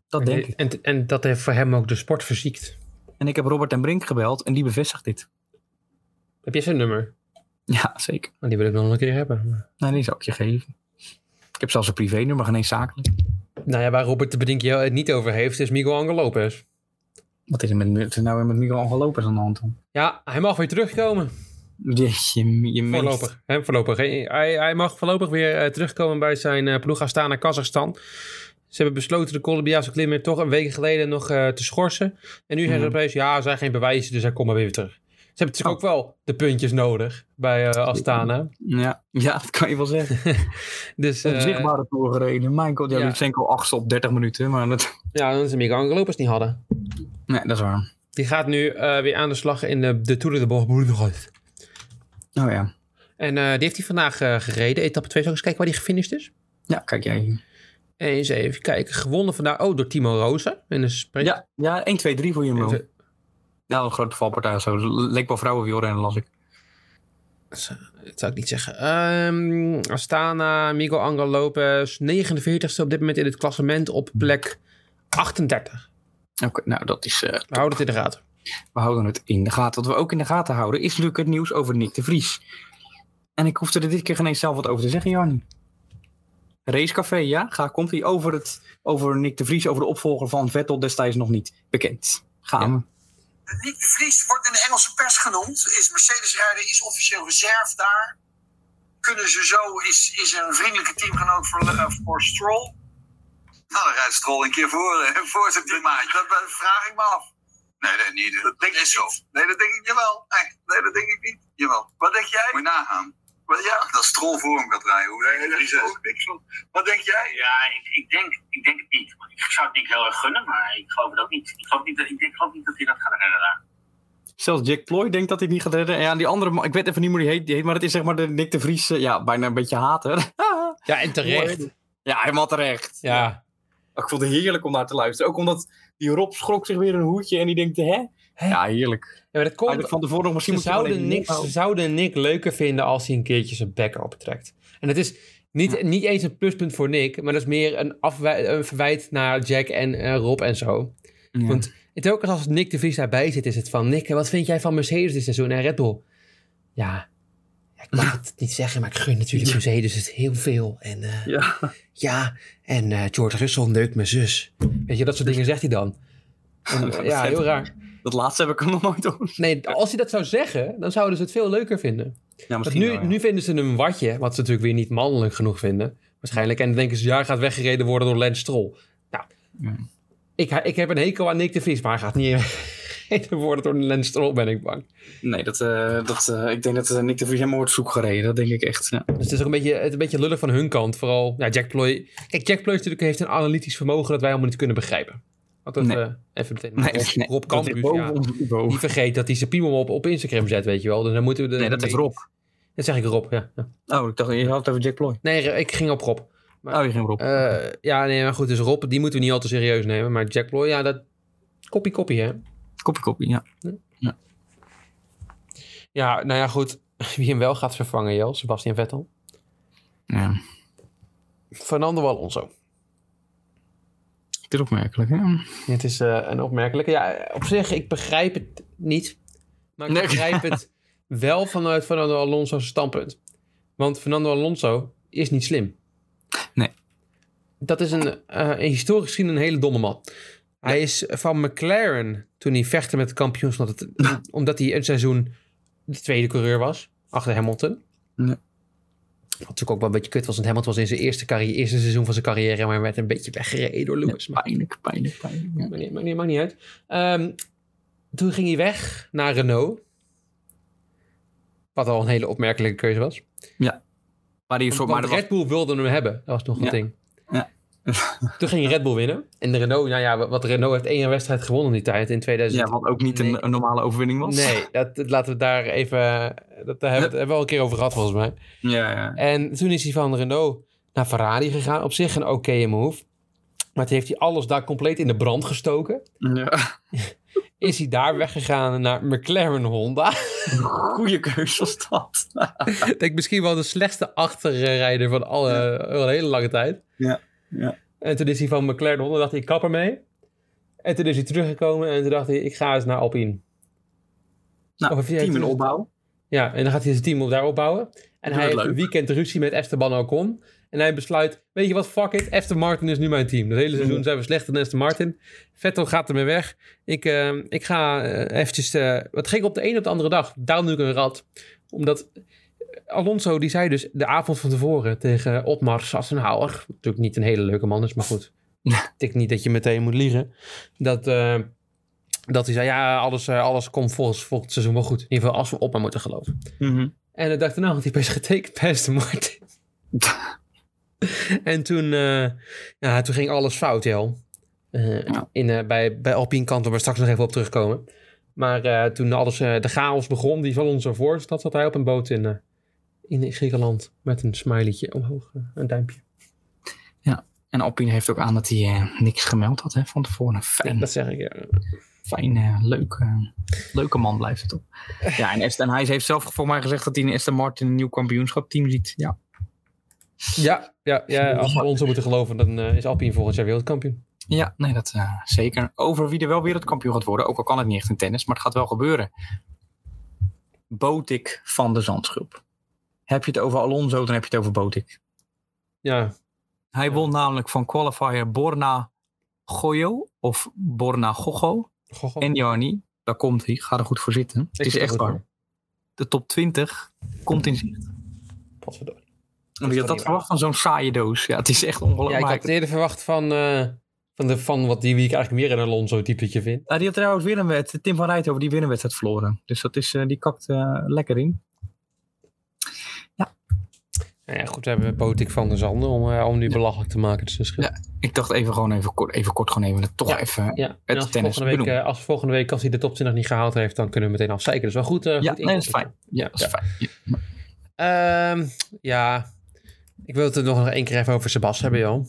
C: Dat denk ik.
A: En, en dat heeft voor hem ook de sport verziekt.
C: En ik heb Robert en Brink gebeld en die bevestigt dit.
A: Heb jij zijn nummer?
C: Ja, zeker.
A: Maar die wil ik nog een keer hebben.
C: Nou, die zou ik je geven. Ik heb zelfs een privé-nummer, geen eens zakelijk.
A: Nou ja, waar Robert de Bedink het niet over heeft, is Miguel Angel Lopez.
C: Wat is er met, wat is er nou weer met Miguel Angel Lopez aan de hand? dan?
A: Ja, hij mag weer terugkomen.
C: Jeetje, je meest-
A: Voorlopig. Hè, voorlopig. Hij, hij- hij mag voorlopig weer eh, terugkomen bij zijn eh, ploeg Astana Kazachstan. Ze hebben besloten de Colombiaanse klimmer toch een week geleden nog eh, te schorsen. En nu zijn ze
C: Mhm. Oh.
A: opeens, ja, er zijn geen bewijzen, dus hij komt maar weer terug. Ze hebben natuurlijk ook wel de puntjes nodig bij eh, Astana.
C: Ja, ja, dat kan je wel zeggen.
A: Dus
C: Een
A: eh,
C: zichtbare toer gereden. Michael, ja,
A: ja.
C: Lutsenko achtste op 30 minuten. Maar dat...
A: ja, dan is Miguel Angel Lopez niet hadden.
C: Nee, dat is waar.
A: Die gaat nu eh, weer aan de slag in de, de Tour de Bourgogne.
C: Oh ja.
A: En eh, die heeft hij vandaag eh, gereden. Etappe 2, zal ik eens kijken waar hij gefinished is?
C: Ja, kijk jij.
A: Eens even kijken. Gewonnen vandaag, oh, door Timo Rozen. In een sprint.
C: Ja, ja 1, 2, 3 voor Jumbo.
A: Even-
C: Nou, een grote valpartij of zo. Leek wel vrouwenwielrennen, las ik.
A: Dat zou ik niet zeggen. Ehm, Astana, Miguel Angel Lopez. 49ste op dit moment in het klassement op plek 38.
C: Oké, nou dat is... eh,
A: We houden het in de gaten.
C: we houden het in de gaten. Wat we ook in de gaten houden is natuurlijk het nieuws over Nick de Vries. En ik hoefde er dit keer geen eens zelf wat over te zeggen, Jarni. Racecafé, ja? Ga, komt hij over, het, over Nick de Vries, over de opvolger van Vettel destijds nog niet bekend. Gaan we.
E: Nick de Vries wordt in de Engelse pers genoemd. Is Mercedes-rijder, is officieel reserve daar. Kunnen ze zo, is, is een vriendelijke teamgenoot voor, eh, voor Stroll. Nou, dan rijdt Stroll een keer voor, eh, voor zijn primaatje. Dat, dat vraag ik me af. Nee, nee, niet. Dat denk ik zo. Nee, dat denk ik jawel. Nee, nee, dat denk ik niet. Jawel. Wat denk jij? Moet je nagaan. Wat, ja. Dat Stroll voor hem gaat rijden. Hoe nee, daar is ook niks van. Wat denk jij?
G: Ja, ik, ik, denk, ik denk het niet. Ik zou het Nick heel erg gunnen, maar ik geloof het ook niet. Ik geloof niet, dat- ik, denk- ik geloof niet dat hij dat gaat redden daar.
C: Zelfs Jack Ploy denkt dat hij het niet gaat redden. En ja, die andere, man- ik weet even niet hoe die heet, die heet, maar het is zeg maar de Nick de Vries, eh, ja, bijna een beetje hater.
A: Ja, en terecht.
C: ja, helemaal terecht.
A: Ja.
C: Ik vond het heerlijk om naar te luisteren. Ook omdat die Rob schrok zich weer een hoedje en die denkt, hè?
A: Hè?
C: Ja, heerlijk.
A: Ja, maar dat
C: Hij
A: komt,
C: dacht van tevoren nog misschien
A: Ze
C: moet je
A: zouden,
C: alleen-
A: Nick, ze zouden Nick leuker vinden als hij een keertje zijn bek optrekt. En het is niet, niet eens een pluspunt voor Nick, maar dat is meer een, afwij- een verwijt naar Jack en eh, Rob en zo.
C: Ja.
A: Want het ook als Nick de Vries daarbij zit, is het van Nick, wat vind jij van Mercedes dit seizoen en Red Bull? Ja, ja, ik mag het niet zeggen, maar ik gun natuurlijk Mercedes het heel veel. En eh,
C: Ja.
A: ja, en eh, George Russell neukt mijn zus. Weet je, dat soort dingen zegt hij dan. En, eh, ja, heel raar.
C: Dat laatste heb ik hem nog nooit over.
A: Nee, als hij dat zou zeggen, dan zouden ze het veel leuker vinden.
C: Ja,
A: Want
C: misschien
A: nu,
C: wel, ja.
A: nu vinden ze een watje, wat ze natuurlijk weer niet mannelijk genoeg vinden. Waarschijnlijk. En dan denken ze, ja, hij gaat weggereden worden door Lance Stroll. Nou,
C: Ja.
A: ik, ik heb een hekel aan Nick de Vries, maar hij gaat niet weggereden worden door Lance Stroll, ben ik bang.
C: Nee, dat, eh, dat, eh, ik denk dat eh, Nick de Vries helemaal wordt zoek gereden. Dat denk ik echt. Ja.
A: Dus het is ook een beetje, het is een beetje lullig van hun kant. Vooral ja, Jack Ploy. Kijk, Jack Ploy natuurlijk heeft een analytisch vermogen dat wij helemaal niet kunnen begrijpen. Want dat,
C: Nee.
A: eh, even meteen Rob, Rob
C: dat is
A: Campus,
C: boven
A: ja.
C: ons niveau.
A: Die vergeet dat hij zijn piemel op, op Instagram zet, weet je wel. Dus dan moeten we de,
C: Nee, dat is Rob.
A: Dat zeg ik Rob, ja. ja.
C: Oh, ik dacht, je had het over Jack Ploy.
A: Nee, ik ging op Rob.
C: Oh, je ging Rob.
A: Eh, ja, nee, maar goed, dus Rob, die moeten we niet al te serieus nemen. Maar Jack Ploy, ja, dat... Koppie, koppie, hè.
C: Koppie, koppie, ja.
A: Ja, nou ja, goed. Wie hem wel gaat vervangen, joh, Sebastian Vettel.
C: Ja.
A: Fernando Alonso.
C: Dit is opmerkelijk, hè?
A: Ja, Het is eh, een opmerkelijke. Ja, op zich, ik begrijp het niet. Maar ik
C: Nee.
A: begrijp het wel vanuit Fernando Alonso's standpunt. Want Fernando Alonso is niet slim.
C: Nee.
A: Dat is een, eh, een historisch gezien een hele domme man. Hij is van McLaren toen hij vechtte met de kampioens. Omdat, het, omdat hij een seizoen de tweede coureur was. Achter Hamilton.
C: Nee.
A: Wat natuurlijk ook wel een beetje kut was. Want Hamilton was in zijn eerste, carrière, eerste seizoen van zijn carrière. Maar werd een beetje weggereden door Lewis. Maar
C: Pijnlijk, pijnlijk, pijnlijk. ja.
A: Maakt niet, maakt niet, maakt niet uit. Ehm, toen ging hij weg naar Renault. Wat al een hele opmerkelijke keuze was.
C: Maar die is
A: Want
C: maar dat was-
A: Red Bull wilde hem hebben. Dat was nog een
C: Ja.
A: ding.
C: Ja.
A: toen ging Red Bull winnen. En de Renault, nou ja, wat Renault heeft één wedstrijd gewonnen in die tijd. In 2000.
C: ja, wat ook niet
A: Nee.
C: een, een normale overwinning was.
A: Nee, dat, dat laten we daar even... Dat, daar hebben we het- hebben we al een keer over gehad, volgens mij.
C: Ja, ja.
A: En toen is hij van Renault naar Ferrari gegaan. Op zich een oké move. Maar toen heeft hij alles daar compleet in de brand gestoken.
C: ja.
A: is hij daar weggegaan naar McLaren Honda.
C: Goeie keus was dat.
A: Denk ik misschien wel de slechtste achterrijder van alle, al een hele lange tijd.
C: Ja, ja.
A: En toen is hij van McLaren Honda, dacht hij, kapper mee. En toen is hij teruggekomen en toen dacht hij, ik ga eens naar Alpine.
C: Nou,
A: Of jij
C: team in
A: het-
C: opbouw.
A: Ja, en dan gaat hij zijn team op daar opbouwen. En hij
C: het
A: heeft een
C: leuk.
A: weekend ruzie met Esteban Ocon. En hij besluit, weet je wat, fuck it, Aston Martin is nu mijn team. Het hele
C: Mhm.
A: seizoen zijn we slechter dan Aston Martin. Vettel gaat ermee weg. Ik, eh, ik ga eh, eventjes... eh het ging op de een op de andere dag. Daarom doe ik een rat. Omdat Alonso, die zei dus de avond van tevoren tegen Otmar Sassenhauer... wat natuurlijk niet een hele leuke man is, maar goed. Ik denk niet dat je meteen moet liegen. Dat... eh, dat hij zei, ja, alles, eh, alles komt volgens volgend seizoen wel goed. In ieder geval als we op maar moeten geloven.
C: Mhm.
A: En ik dacht, nou, had hij best getekend bij Aston Martin. en toen, eh, ja, toen ging alles fout, Jel. Eh,
C: Ja.
A: in, eh, bij, bij Alpine kant, waar we straks nog even op terugkomen. Maar eh, toen alles, eh, de chaos begon, die van onze voorstad, zat hij op een boot in, eh, in Griekenland. Met een smileytje omhoog, eh, een duimpje.
C: En Alpine heeft ook aan dat hij eh, niks gemeld had hè, van tevoren. Fijn,
A: Dat zeg ik, ja.
C: fijn eh, leuk, eh, leuke man blijft het op. Ja, en, Aston, hij heeft zelf voor mij gezegd dat hij in Aston Martin een nieuw kampioenschapteam ziet. Ja,
A: Ja, ja, ja als we ons moeten geloven, dan eh, is Alpine volgend jaar wereldkampioen.
C: ja nee, dat eh, zeker. Over wie er wel wereldkampioen gaat worden, ook al kan het niet echt in tennis, maar het gaat wel gebeuren. Botik van de Zandschulp. Heb je het over Alonso, dan heb je het over Botik.
A: Ja,
C: Hij won namelijk van qualifier Borna Goyo of Borna Gogo
A: goh, goh.
C: en Jarni. Daar komt hij, ga er goed voor zitten. het is
A: zit er
C: echt
A: goed
C: waar.
A: voor.
C: De top 20 komt in zicht.
A: Potverdorie.
C: Wie
A: toch
C: had dat
A: niet
C: verwacht van zo'n saaie doos? Ja, het is echt
A: Ja, ik
C: ongelooflijk.
A: had eerder verwacht van, eh, van, de, van wat die, wie ik eigenlijk meer een Alonso-typetje vind.
C: Ja, die had trouwens weer een wedstrijd. Tim van Rijthoven, die weer een wedstrijd verloren. Dus dat is, eh, die kakt eh, lekker in.
A: Nou ja, goed, we hebben Botik van der Zanden om, eh, om nu belachelijk te maken. Dus dat scheelt.
C: Ik dacht even gewoon even kort, even kort gewoon even, toch
A: Ja.
C: even.
A: Ja, en als,
C: Het tennis
A: volgende week,
C: benoemen.
A: eh, als volgende week, als hij de top 20 niet gehaald heeft, dan kunnen we meteen afzeiken. Dus wel goed. eh,
C: Ja,
A: goed
C: nee, dat is
A: ingevuld.
C: fijn. Ja, dat is
A: Ja.
C: fijn. Ja.
A: Ehm, ja, ik wil het er nog één keer even over Sebas hebben, Jan.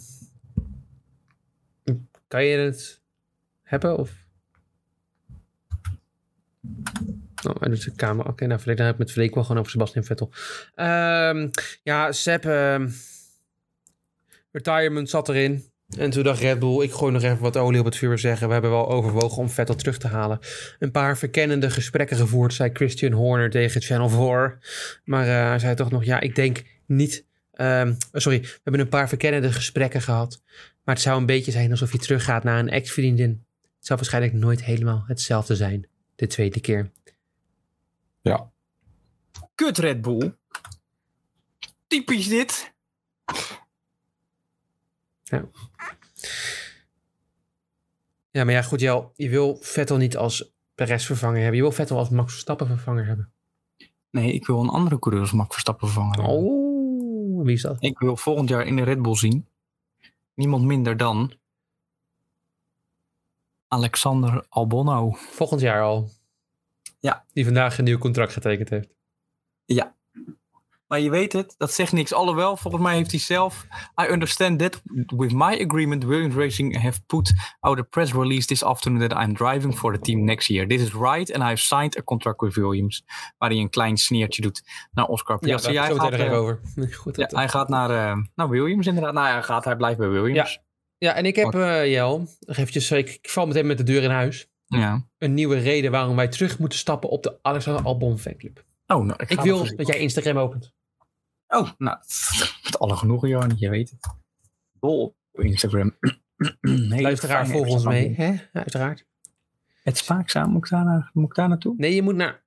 A: Kan je het hebben? Of? Oh, hij doet de camera. Oké, nou, verleden heb ik met Vleek wel gewoon over Sebastian Vettel. Ehm, ja, Seb, ehm, retirement zat erin. En toen dacht Red Bull, ik gooi nog even wat olie op het vuur zeggen. We hebben wel overwogen om Vettel terug te halen. Een paar verkennende gesprekken gevoerd, zei Christian Horner tegen Channel 4. Maar eh, hij zei toch nog, ja, ik denk niet. ehm, oh, sorry, we hebben een paar verkennende gesprekken gehad. Maar het zou een beetje zijn alsof je teruggaat naar een ex-vriendin. Het zou waarschijnlijk nooit helemaal hetzelfde zijn. De tweede keer.
C: Kut Red Bull. Typisch dit.
A: Ja, maar ja, goed, Jel, je wil Vettel niet als Perez vervanger hebben. Je wil Vettel als Max Verstappen vervanger hebben.
C: Nee, ik wil een andere coureur als Max Verstappen vervangen.
A: Oh, wie is dat?
C: Ik wil volgend jaar in de Red Bull zien. Niemand minder dan. Alexander Albonno.
A: Volgend jaar al.
C: Ja.
A: Die vandaag een nieuw contract getekend heeft.
C: Maar je weet het, dat zegt niks. Alhoewel, volgens mij heeft hij zelf... I understand that with my agreement, Williams Racing have put out a press release this afternoon that I'm driving for the team next year. This is right and I've signed a contract with Williams. Waar hij een klein sneertje doet naar Oscar
A: Ja,
C: Piastri.
A: daar
C: hij,
A: hebben we
C: gaat,
A: het zo meteen nog even
C: eh,
A: over. Nee, Goed,
C: ja,
A: dat-
C: hij gaat naar, eh, naar Williams inderdaad. Nou ja, hij gaat, hij blijft bij Williams.
A: Ja, en ik heb, eh Jel, nog eventjes, ik, ik val meteen met de deur in huis.
C: Ja.
A: Een nieuwe reden waarom wij terug moeten stappen op de Alexander Albon fanclub.
C: Oh, nou, ik,
A: Ik
C: ga
A: wil
C: nog eens-
A: dat jij Instagram opent.
C: Oh, nou, met alle genoegen, Johan. Je weet het. Dol op Instagram. Hele
A: Luisteraar,
C: fijne
A: volg ons
C: Instagram.
A: mee. Hè? Ja, Uiteraard.
C: Het spaakzaam, moet ik daar, naar- moet ik daar naartoe?
A: Nee, je moet naar...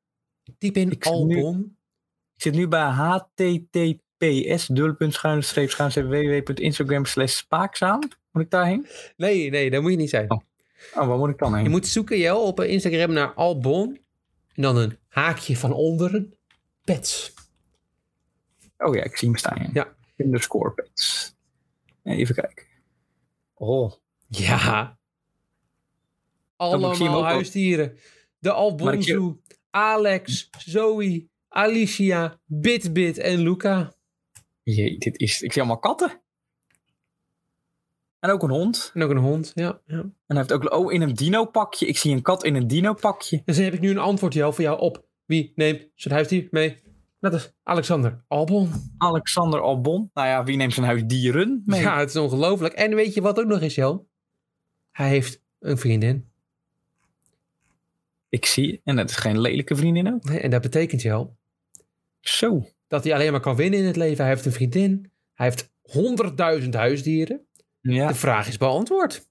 A: Typ in
C: Ik zit nu-
A: Albon.
C: Ik zit nu bij https www.instagram slash spaakzaam. Moet ik daarheen?
A: Nee, nee, daar moet je niet zijn.
C: Oh. Oh, waar moet ik dan heen?
A: Je moet zoeken, Jel, op Instagram naar Albon. En dan een haakje van onderen. Pets.
C: Oh ja, ik zie hem staan.
A: Ja.
C: Underscore pets. Ja, even kijken. Oh,
A: Ja.
C: ik zie hem ook
A: Allemaal
C: al.
A: huisdieren. De
C: Maar ik
A: Albon
C: zie-
A: Zoo. Alex, Zoe, Alicia, Bitbit en Luca.
C: jee, dit is... Ik zie allemaal katten. En ook een hond.
A: En ook een hond, ja. ja.
C: En hij heeft ook... Oh, in een dino pakje. Ik zie een kat in een dino pakje.
A: Dus dan heb ik nu een antwoord jou, voor jou op. Wie neemt zijn huisdier mee? Dat is Alexander Albon.
C: Alexander Albon. Nou ja, wie neemt zijn huis dieren mee?
A: Ja, het is ongelooflijk. En weet je wat ook nog is, Jel? Hij heeft een vriendin.
C: Ik zie... En dat is geen lelijke vriendin ook.
A: Nee, En dat betekent, Jel,
C: Zo.
A: dat hij alleen maar kan winnen in het leven. Hij heeft een vriendin. Hij heeft honderdduizend huisdieren.
C: Ja.
A: De vraag is beantwoord.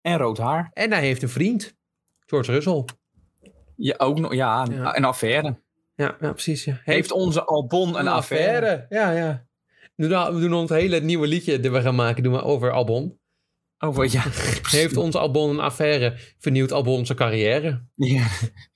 C: En rood haar.
A: En hij heeft een vriend. George Russell.
C: Ja, ook nog, ja,
A: Ja.
C: een affaire.
A: Ja, ja precies. Ja. Heeft,
C: Heeft onze Albon een affaire?
A: Ja, ja. We doen, we doen ons hele nieuwe liedje dat we gaan maken doen we over Albon.
C: Oh, wat- ja.
A: Heeft ons Albon een affaire? Vernieuwt Albon zijn carrière?
C: Ja.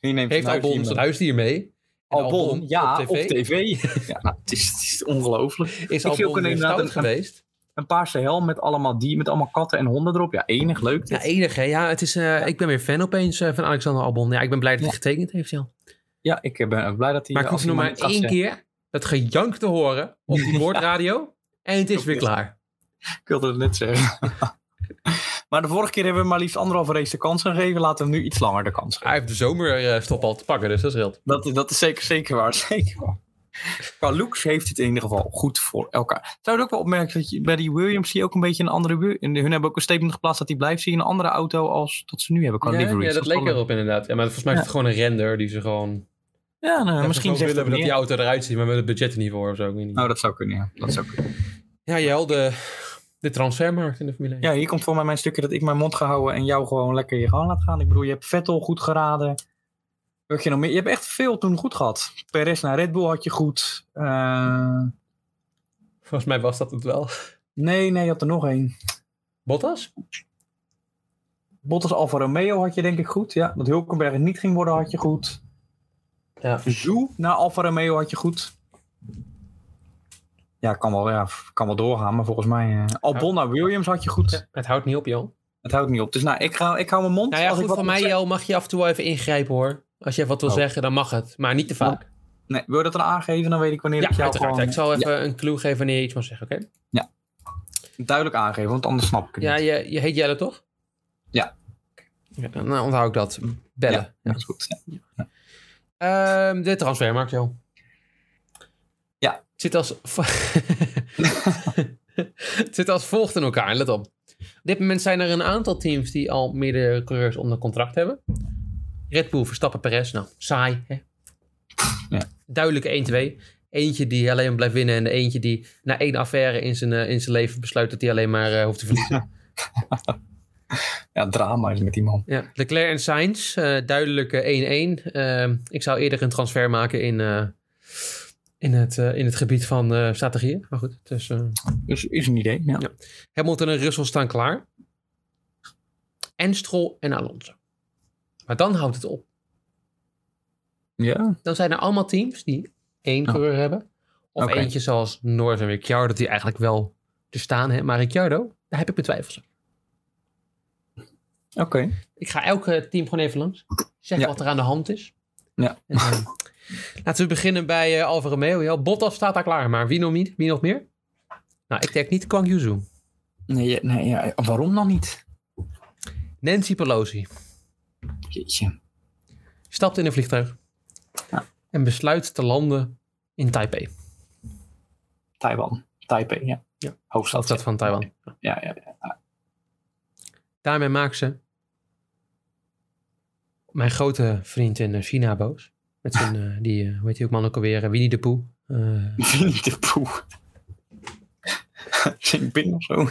C: Wie
A: Heeft
C: neemt zijn huis
A: Albon
C: hier
A: zijn
C: mee?
A: huisdier mee? En
C: Albon, ja, op
A: Is
C: tv. ja, nou, het, is, het is ongelooflijk.
A: Is
C: zie ook
A: Albon
C: een
A: weer
C: inderdaad
A: stout
C: een-
A: geweest?
C: Een paarse helm met allemaal, die, met allemaal katten en honden erop. Ja, e- enig, leuk.
A: Ja, enig hè. Ja, het is, eh, Ik ben weer fan opeens eh, van Alexander Albon. Ja, ik ben blij dat hij getekend heeft, Jel.
C: Ja, ik eh, ben ook blij dat hij...
A: Maar ik
C: als
A: hoef nog
C: hij
A: maar
C: niet gaat
A: één
C: zeggen,
A: keer dat gejank te horen op die boordradio. En het is weer klaar.
C: Ik wilde het net zeggen. maar de vorige keer hebben we maar liefst anderhalve race de kans gegeven. Laten we hem nu iets langer de kans geven.
A: Hij heeft de zomerstop al te pakken, dus dat scheelt.
C: Dat, dat is zeker, zeker waar. Zeker waar. Qua looks heeft het in ieder geval goed voor elkaar. Zou je ook wel opmerken dat je, bij die Williams zie je ook een beetje een andere. Wi- En hun hebben ook een statement geplaatst dat die blijft zien in een andere auto als dat ze nu hebben qua
A: Ja,
C: livery.
A: ja, dat leek erop inderdaad. Ja, maar volgens mij is het gewoon een render die ze gewoon...
C: Ja, nou,
A: Ja, gewoon
C: misschien zegt
A: willen
C: dat
A: we dat
C: meer.
A: die auto eruit ziet, maar we hebben het budget er niet voor of zo. Ik weet niet.
C: Nou, dat zou kunnen. Ja, dat zou kunnen.
A: Ja, Jel, de, de transfermarkt in de Formule 1.
C: ja hier komt voor mij mijn stukje dat ik mijn mond ga houden en jou gewoon lekker je gang laat gaan. Ik bedoel, je hebt Vettel goed geraden. Wat heb Je, nog meer? je hebt echt veel toen goed gehad. Perez naar Red Bull had je goed. Eh,
A: Volgens mij was dat het wel.
C: nee, nee, je had er nog één.
A: Bottas?
C: Bottas Alfa Romeo had je denk ik goed. Ja, dat Hulkenberg het niet ging worden had je goed.
A: Ja.
C: Zou naar Alfa Romeo had je goed. Ja, kan wel, ja, kan wel doorgaan, maar volgens mij... eh, Albon naar Williams had je goed.
A: Het houdt niet op, Jel.
C: Het houdt niet op. Dus nou, ik, ga, ik hou mijn mond.
A: Nou ja,
C: Als
A: goed,
C: ik wat
A: van
C: moet
A: mij,
C: zeggen-
A: Jel, mag je af en toe wel even ingrijpen, hoor. Als je wat wil
C: Oh.
A: zeggen, dan mag het. Maar niet te vaak.
C: Nee, wil je dat dan aangeven, dan weet ik wanneer
A: Ja,
C: ik jou
A: uiteraard.
C: gewoon
A: Ik zal even een clue geven wanneer je iets mag zeggen, oké?
C: duidelijk aangeven, want anders snap ik het
A: Ja,
C: niet.
A: je, je heet Jelle, toch?
C: Ja.
A: Ja, dan dan onthoud ik dat. Bellen.
C: Ja, dat is goed. Ja.
A: Ehm, de transfermarkt, joh.
C: Ja.
A: Het zit als... het zit als volgt in elkaar, let op. Op dit moment zijn er een aantal teams die al meerdere coureurs onder contract hebben. Red Bull, Verstappen, Perez. Nou, saai, hè?
C: Ja.
A: Duidelijk 1-2. Eentje die alleen maar blijft winnen en de eentje die na één affaire in zijn, eh, in zijn leven besluit dat hij alleen maar eh, hoeft te verliezen.
C: Ja, drama is met die man.
A: Ja, Leclerc en Sainz, eh, duidelijk eh, 1-1. Ehm, ik zou eerder een transfer maken in, eh, in, het, eh, in het gebied van eh, strategieën. Maar goed, dus, eh,
C: Dus is een idee. Ja.
A: Ja. Hamilton en Russell staan klaar. En Stroll en Alonso. Maar dan houdt het op.
C: Ja.
A: Dan zijn er allemaal teams die één
C: Oh.
A: coureur hebben. Of
C: Oké.
A: eentje zoals Norris en Ricciardo, die eigenlijk wel te staan hebben. Maar Ricciardo, daar heb ik mijn twijfels aan.
C: Oké.
A: Ik ga elke team gewoon even langs. Zeg
C: Ja.
A: wat er aan de hand is.
C: Ja.
A: En, eh, laten we beginnen bij eh, Alfa Romeo. Ja, Bottas staat daar klaar, maar wie nog niet? Wie nog meer? Nou, ik denk niet Kwang Yuzu.
C: Nee, ja, nee ja, waarom dan niet?
A: Nancy Pelosi
C: Jeetje.
A: stapt in een vliegtuig
C: Ja.
A: en besluit te landen in Taipei,
C: Taiwan. Taipei, ja.
A: Ja.
C: Hoofdstad.
A: hoofdstad van Taiwan.
C: Ja, ja, ja.
A: Daarmee maakt ze mijn grote vriend in eh, China boos. Met zijn, eh, die, eh, hoe heet die ook man ook alweer, eh, Winnie de Pooh. Eh,
C: Winnie de Pooh. Zing binnen of zo.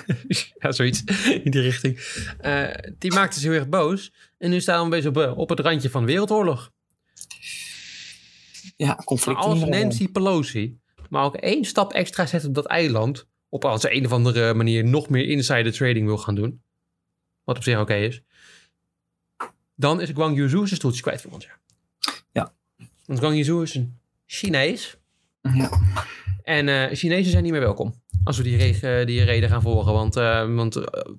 A: ja, zoiets in die richting. Eh, die maakte ze heel erg boos. En nu staan we een beetje op, eh, op het randje van wereldoorlog.
C: Ja,
A: Maar
C: conflict.
A: als Nancy Pelosi maar ook één stap extra zet op dat eiland, op als ze een of andere manier nog meer insider trading wil gaan doen, wat op zich oké is, dan is Guang Yuzhu zijn stoeltje kwijt voor ons jaar.
C: Ja.
A: Want Guang Yuzhu is een Chinees.
C: Ja.
A: En eh, Chinezen zijn niet meer welkom. Als we die, reg- die reden gaan volgen. Want, eh, want eh,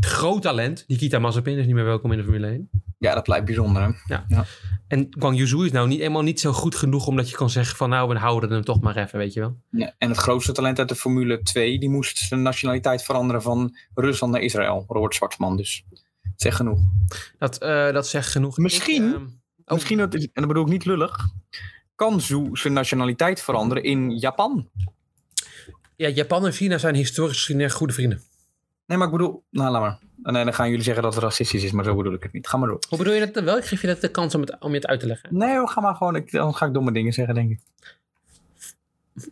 A: groot talent, Nikita Mazepin, is niet meer welkom in de Formule 1.
C: Ja, dat blijft bijzonder. hè.
A: En Guang Yuzhu is nou niet, helemaal niet zo goed genoeg omdat je kan zeggen van nou, we houden hem toch maar even, weet je wel.
C: Ja, en het grootste talent uit de Formule 2, die moest zijn nationaliteit veranderen van Rusland naar Israël. Robert Zwartman dus. Zeg genoeg.
A: Dat, eh, dat zegt genoeg.
C: Misschien-
A: Ik, ehm, oh,
C: Misschien, dat is, en dat bedoel ik niet lullig, kan Zhu zijn nationaliteit veranderen in Japan.
A: ja, Japan en China zijn historisch gezien echt goede vrienden.
C: Nee, maar ik bedoel, nou laat maar. Nee, dan gaan jullie zeggen dat het racistisch is, maar zo bedoel ik het niet. Ga maar door.
A: Hoe bedoel je dat dan wel? Ik geef je dat de kans om, het, om je het uit te leggen.
C: Nee, hoor, ga maar gewoon, ik, dan ga ik domme dingen zeggen, denk ik.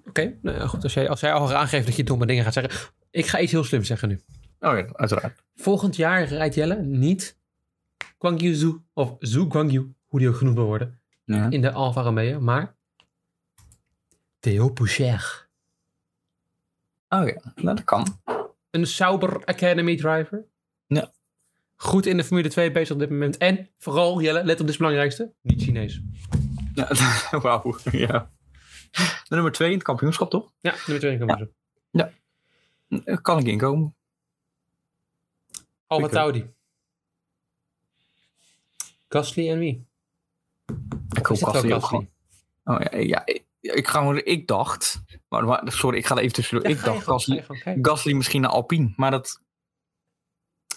A: Oké, nou ja, goed. Als jij, als jij al aangeeft dat je domme dingen gaat zeggen. Ik ga iets heel slims zeggen nu.
C: Oh ja, uiteraard.
A: Volgend jaar rijdt Jelle niet Guang Yuzhu of Zhu Guangyu, hoe die ook genoemd wil worden,
C: Ja.
A: in de Alfa Romeo, maar Theo Poucher.
C: Oh ja, nou, dat kan.
A: Een Sauber Academy driver.
C: Ja.
A: Goed in de Formule 2 bezig op dit moment. En vooral, Jelle, let op dit is het belangrijkste, niet Chinees.
C: Ja, Wauw, ja. De nummer twee in het kampioenschap, toch?
A: Ja, nummer 2 komen ze.
C: Eh, Kan ik inkomen?
A: Alfa
C: Oké.
A: Taudi. Gasly en wie?
C: Ik
A: Is het wel
C: Gasly ook gewoon. Oh ja, ja ik, ik, ga, gewoon- ik dacht. Maar, maar- sorry, ik ga er even tussendoor.
A: Ja,
C: ik
A: ga je
C: dacht
A: gang, ga
C: Gasly,
A: je gang, kijk.
C: Gasly misschien naar Alpine. Maar dat.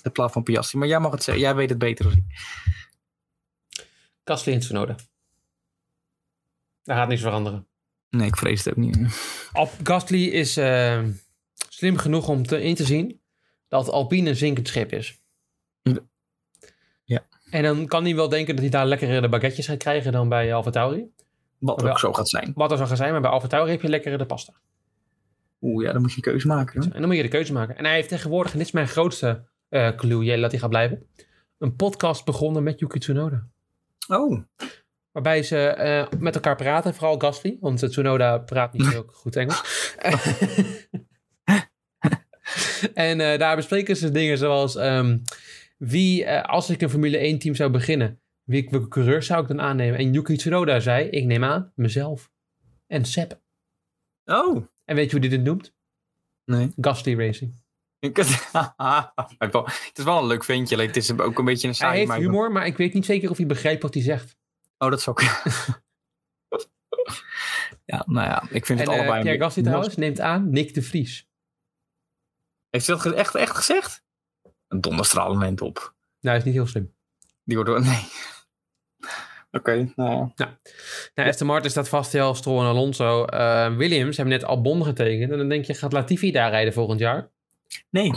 C: In plaats van Piastri. Maar jij mag het zeggen. Jij weet het beter dan ik.
A: Gasly en Tsunoda. Daar gaat niks veranderen.
C: Nee, ik vrees het ook niet.
A: Al- Gasly is eh, slim genoeg om te, in te zien dat Alpine een zinkend schip is.
C: Ja.
A: En dan kan hij wel denken dat hij daar lekkerere baguetjes gaat krijgen dan bij Alfa Tauri.
C: Wat
A: Wel-
C: ook zo gaat zijn.
A: Wat er zou gaan zijn, maar bij Alfa Tauri heb je lekkerder pasta.
C: Oeh ja, dan moet je een keuze maken. hè?
A: En dan moet je de keuze maken. En hij heeft tegenwoordig, en dit is mijn grootste eh clue, Jelle, dat hij gaat blijven, een podcast begonnen met Yuki Tsunoda.
C: Oh,
A: Waarbij ze eh, met elkaar praten, vooral Gasly. Want eh, Tsunoda praat niet heel goed Engels. en eh, daar bespreken ze dingen zoals... ehm, wie, eh, als ik een Formule 1 team zou beginnen... Wie, welke coureur zou ik dan aannemen? En Yuki Tsunoda zei, ik neem aan mezelf. En Sepp.
C: oh.
A: En weet je hoe die dit noemt?
C: Nee.
A: Gasly Racing.
C: Ik, het is wel een leuk ventje. alleen Het is ook een beetje een saai.
A: hij heeft
C: maar-
A: humor, maar ik weet niet zeker of hij begrijpt wat hij zegt.
C: Oh, dat zou ik. ja, nou ja. Ik vind
A: En
C: het
A: eh,
C: allebei
A: Pierre
C: een
A: Gasly
C: beetje...
A: trouwens neemt aan Nick de Vries.
C: Heeft hij dat ge- echt, echt gezegd? Een donderstralend op.
A: Nou, dat is niet heel slim.
C: Die wordt door. Nee. Oké, nou ja.
A: Nou, Aston Martin staat vast, heel Stroll en Alonso. Eh, Williams hebben net Albon getekend. En dan denk je, gaat Latifi daar rijden volgend jaar?
C: Nee.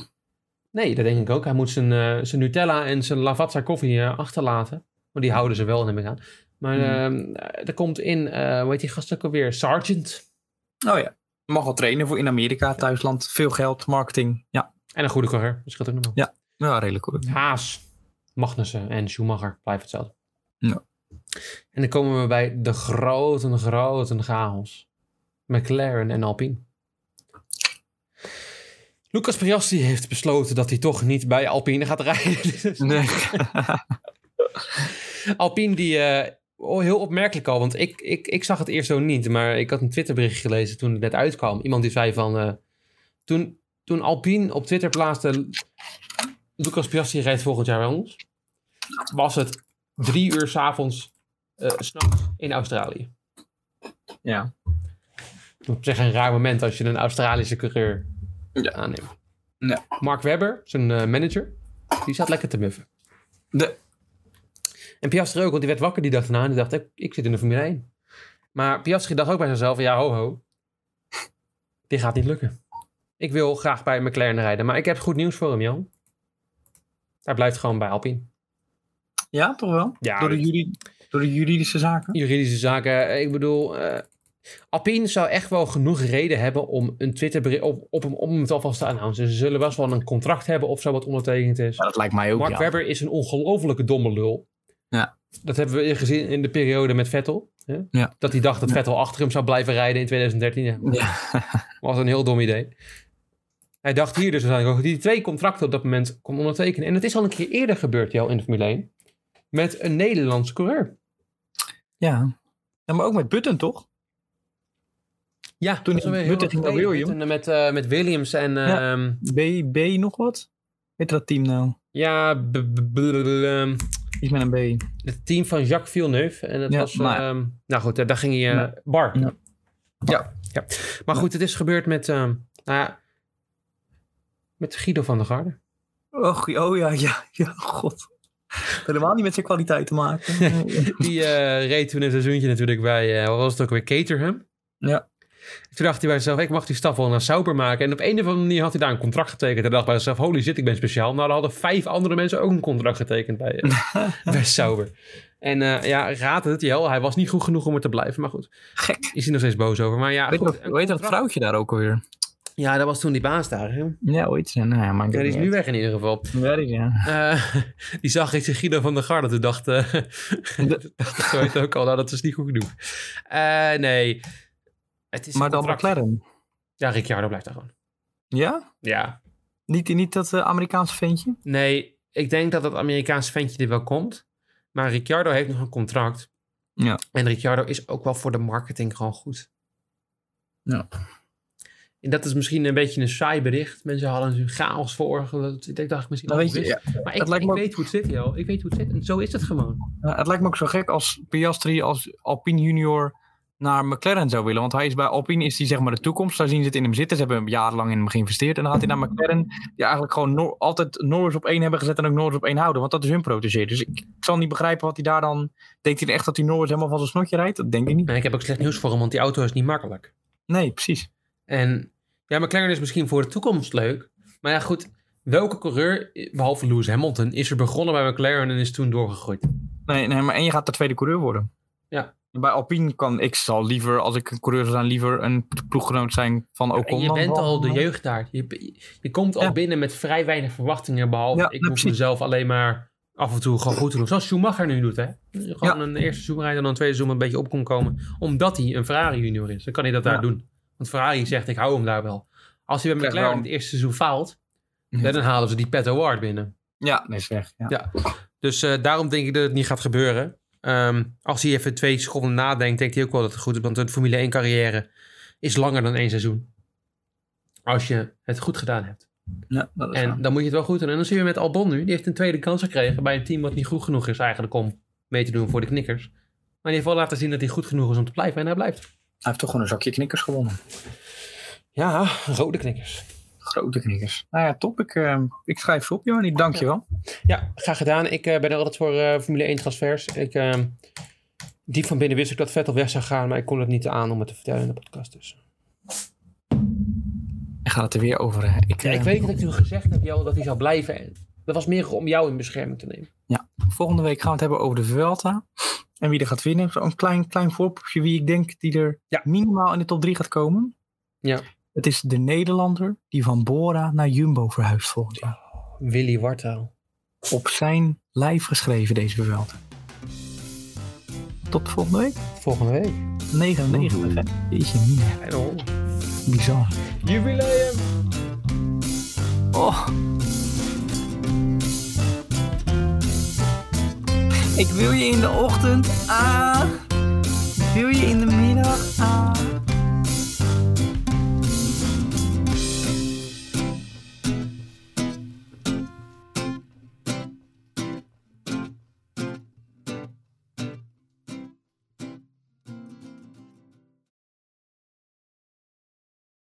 A: Nee, dat denk ik ook. Hij moet zijn, eh, zijn Nutella en zijn Lavazza koffie eh, achterlaten. Want die houden ze wel, neem ik aan. Maar ehm, er komt in, eh, hoe heet die gast ook alweer? Sargent.
C: Oh ja. Mag wel trainen voor in Amerika, thuisland. Veel geld, marketing. Ja,
A: En een goede coureur. Dat scheelt ook nog wel.
C: ja redelijk goed.
A: Haas, Magnussen en Schumacher blijven hetzelfde.
C: Ja.
A: En dan komen we bij de grote, grote chaos. McLaren en Alpine. Lucas Piastri heeft besloten dat hij toch niet bij Alpine gaat rijden. Dus-
C: Nee.
A: Alpine die... eh, oh, heel opmerkelijk al, want ik, ik, ik zag het eerst zo niet. Maar ik had een Twitterbericht gelezen toen het net uitkwam. Iemand die zei van... eh, toen, toen Alpine op Twitter plaatste... Lucas Piastri rijdt volgend jaar bij ons. was het drie uur s'avonds eh 's nachts in Australië.
C: Ja.
A: Op zich een raar moment als je een Australische coureur
C: Ja.
A: aanneemt.
C: Ja.
A: Mark Webber, zijn eh, manager, die zat lekker te muffen.
C: De-
A: En Piastri ook, want die werd wakker die dag daarna en die dacht, ik, ik zit in de Formule 1. Maar Piastri dacht ook bij zichzelf, ja ho ho, dit gaat niet lukken. Ik wil graag bij McLaren rijden, maar ik heb goed nieuws voor hem, Jan. Hij blijft gewoon bij Alpine.
C: Ja, toch wel?
A: Ja,
C: door, de juri- door de juridische zaken?
A: juridische zaken. Ik bedoel, eh Alpine zou echt wel genoeg reden hebben om een Twitter op, op hem, om hem alvast te announcen. Ze zullen best wel een contract hebben of zo wat ondertekend is.
C: Ja, dat lijkt mij ook,
A: Mark
C: ja.
A: Webber is een ongelofelijke domme lul.
C: Ja.
A: Dat hebben we gezien in de periode met Vettel. Hè?
C: Ja.
A: Dat hij dacht dat
C: Ja.
A: Vettel achter hem zou blijven rijden in 2013. Ja,
C: Ja.
A: was een heel dom idee. Hij dacht hier dus waarschijnlijk ook dat hij twee contracten op dat moment kon ondertekenen. En dat is al een keer eerder gebeurd, jou in de Formule 1. Met een Nederlandse coureur.
C: ja. Ja, maar ook met Button, toch?
A: Ja,
C: toen
A: dat is
C: hij
A: alweer
C: Rutte
A: heel
C: ging
A: lang
C: naar
A: geleden.
C: William.
A: Toen, eh, Met, eh, met Williams en...
C: Ja.
A: ehm,
C: B, B nog wat? Heet dat team nou?
A: Ja, b- b- b- ehm,
C: Iets met een B.
A: het team van Jacques Villeneuve. En dat
C: Ja,
A: was...
C: maar-
A: ehm, nou goed, eh, daar ging hij... eh,
C: Ja.
A: Bar.
C: Ja.
A: Ja. ja. Maar goed, het is gebeurd met... ehm, nou ja, met Guido van der Garde.
C: Och, oh ja, ja, ja, god. Helemaal niet met zijn kwaliteit te maken.
A: Die eh, reed toen een seizoentje natuurlijk bij... eh wat was het ook weer? Caterham.
C: Ja.
A: Toen dacht hij bij zichzelf, ik mag die stap wel naar Sauber maken. En op een of andere manier had hij daar een contract getekend. Hij dacht bij zichzelf, holy shit, ik ben speciaal. Nou, er hadden vijf andere mensen ook een contract getekend bij, eh, bij Sauber. En eh, ja, raad het, Jel, hij was niet goed genoeg om er te blijven. Maar goed,
C: Gek.
A: is hij nog steeds boos over. Maar ja,
C: Weet je
A: goed,
C: dat, hoe heet dat vrouwtje daar ook alweer?
A: ja dat was toen die baas daar. Hè?
C: Ja, ooit. Nou ja, maar ik
A: Ja, die is nu weg in ieder geval.
C: Ja, die is, ja.
A: Eh, die zag ik Guido van der Garde. Toen dacht, eh, zo heet het ook al, nou, dat is niet goed genoeg. Eh, nee, het is een
C: Maar dan
A: contract.
C: McLaren.
A: Ja, Ricciardo blijft daar gewoon.
C: Ja?
A: Ja,
C: Niet, niet dat eh, Amerikaanse ventje?
A: Nee, ik denk dat dat Amerikaanse ventje er wel komt. Maar Ricciardo heeft nog een contract.
C: Ja.
A: En Ricciardo is ook wel voor de marketing gewoon goed.
C: Ja.
A: En dat is misschien een beetje een saai bericht. Mensen hadden een chaos veroorzaakt. Ik denk, dacht ik misschien
C: Nou,
A: ook
C: weet je,
A: wist. Maar ik,
C: het lijkt me
A: ik
C: ook-
A: weet hoe het zit, joh. Ik weet hoe het zit. En zo is het gewoon.
C: Ja, Nou, het lijkt me ook zo gek als Piastri als Alpine junior naar McLaren zou willen. Want hij is bij Alpine is hij zeg maar de toekomst. Daar zien ze het in hem zitten. Ze hebben hem jarenlang in hem geïnvesteerd. En dan gaat hij naar McLaren die eigenlijk gewoon Nor- altijd Norris op één hebben gezet en ook Norris op één houden. Want dat is hun protégé. Dus ik, ik zal niet begrijpen wat hij daar dan... Denkt hij echt dat hij Norris helemaal van zijn snotje rijdt? Dat denk ik niet.
A: Maar Nou, ik heb ook slecht nieuws voor hem, want die auto is niet makkelijk.
C: Nee, precies.
A: En ja, McLaren is misschien voor de toekomst leuk. Maar ja, goed. Welke coureur, behalve Lewis Hamilton, is er begonnen bij McLaren en is toen doorgegroeid?
C: Nee, nee, maar en je gaat de tweede coureur worden.
A: Ja.
C: En Bij Alpine kan ik zal liever, als ik een coureur zou zijn, liever een ploeggenoot zijn van Ocon.
A: En je
C: dan
A: bent
C: van-
A: al de jeugd daar. Je, je komt al
C: Ja.
A: binnen met vrij weinig verwachtingen. Behalve,
C: Ja,
A: ik
C: ja,
A: moet
C: precies.
A: mezelf alleen maar af en toe gewoon goed te doen. Zoals Schumacher nu doet, hè. Gewoon een eerste seizoen rijden en dan een tweede seizoen een beetje op kon komen. Omdat hij een Ferrari junior is. Dan kan hij dat daar
C: Ja.
A: doen. Want Ferrari zegt, ik hou hem daar wel. Als hij bij
C: Krijg
A: McLaren
C: wel-
A: het eerste seizoen faalt,
C: Ja.
A: dan halen ze die Pet Award binnen.
C: Ja, nee, is weg. Ja.
A: Dus eh, daarom denk ik dat het niet gaat gebeuren. Ehm, als hij even twee seconden nadenkt, denkt hij ook wel dat het goed is. Want een Formule 1 carrière is langer dan één seizoen. Als je het goed gedaan hebt.
C: Ja, dat is waar.
A: En dan moet je het wel goed doen. En dan zie je met Albon nu. Die heeft een tweede kans gekregen bij een team wat niet goed genoeg is eigenlijk om mee te doen voor de knikkers. Maar die heeft wel laten zien dat hij goed genoeg is om te blijven. En hij blijft.
C: Hij heeft toch gewoon een zakje knikkers gewonnen.
A: Ja, rode knikkers.
C: Grote knikkers. Nou ja, top. Ik, eh, ik schrijf ze op, Johnny. Dank je wel.
A: Ja, graag gedaan. Ik eh, ben er altijd voor eh, Formule 1 transfers. Ik, eh, diep van binnen wist ik dat Vettel weg zou gaan. Maar ik kon het niet aan om het te vertellen in de podcast. Dus.
C: Ik ga het er weer over. hè. Ik,
A: Ja, ik
C: eh,
A: weet dat ik toen gezegd heb jou dat hij zou blijven. En dat was meer om jou in bescherming te nemen.
C: Volgende week gaan we het hebben over de Vuelta. En wie er gaat winnen. Zo'n klein, klein voorproefje wie ik denk die er
A: Ja.
C: minimaal in de top 3 gaat komen.
A: Ja.
C: Het is de Nederlander die van Bora naar Jumbo verhuist volgend jaar.
A: Willy Wartaal.
C: Op zijn lijf geschreven deze Vuelta. Tot volgende week.
A: Volgende week.
C: 99. hè. Jeetje, mina.
A: En dan.
C: Bizar.
A: Jubileum!
C: Oh. Ik wil je in de ochtend. Ah. Ik wil je in de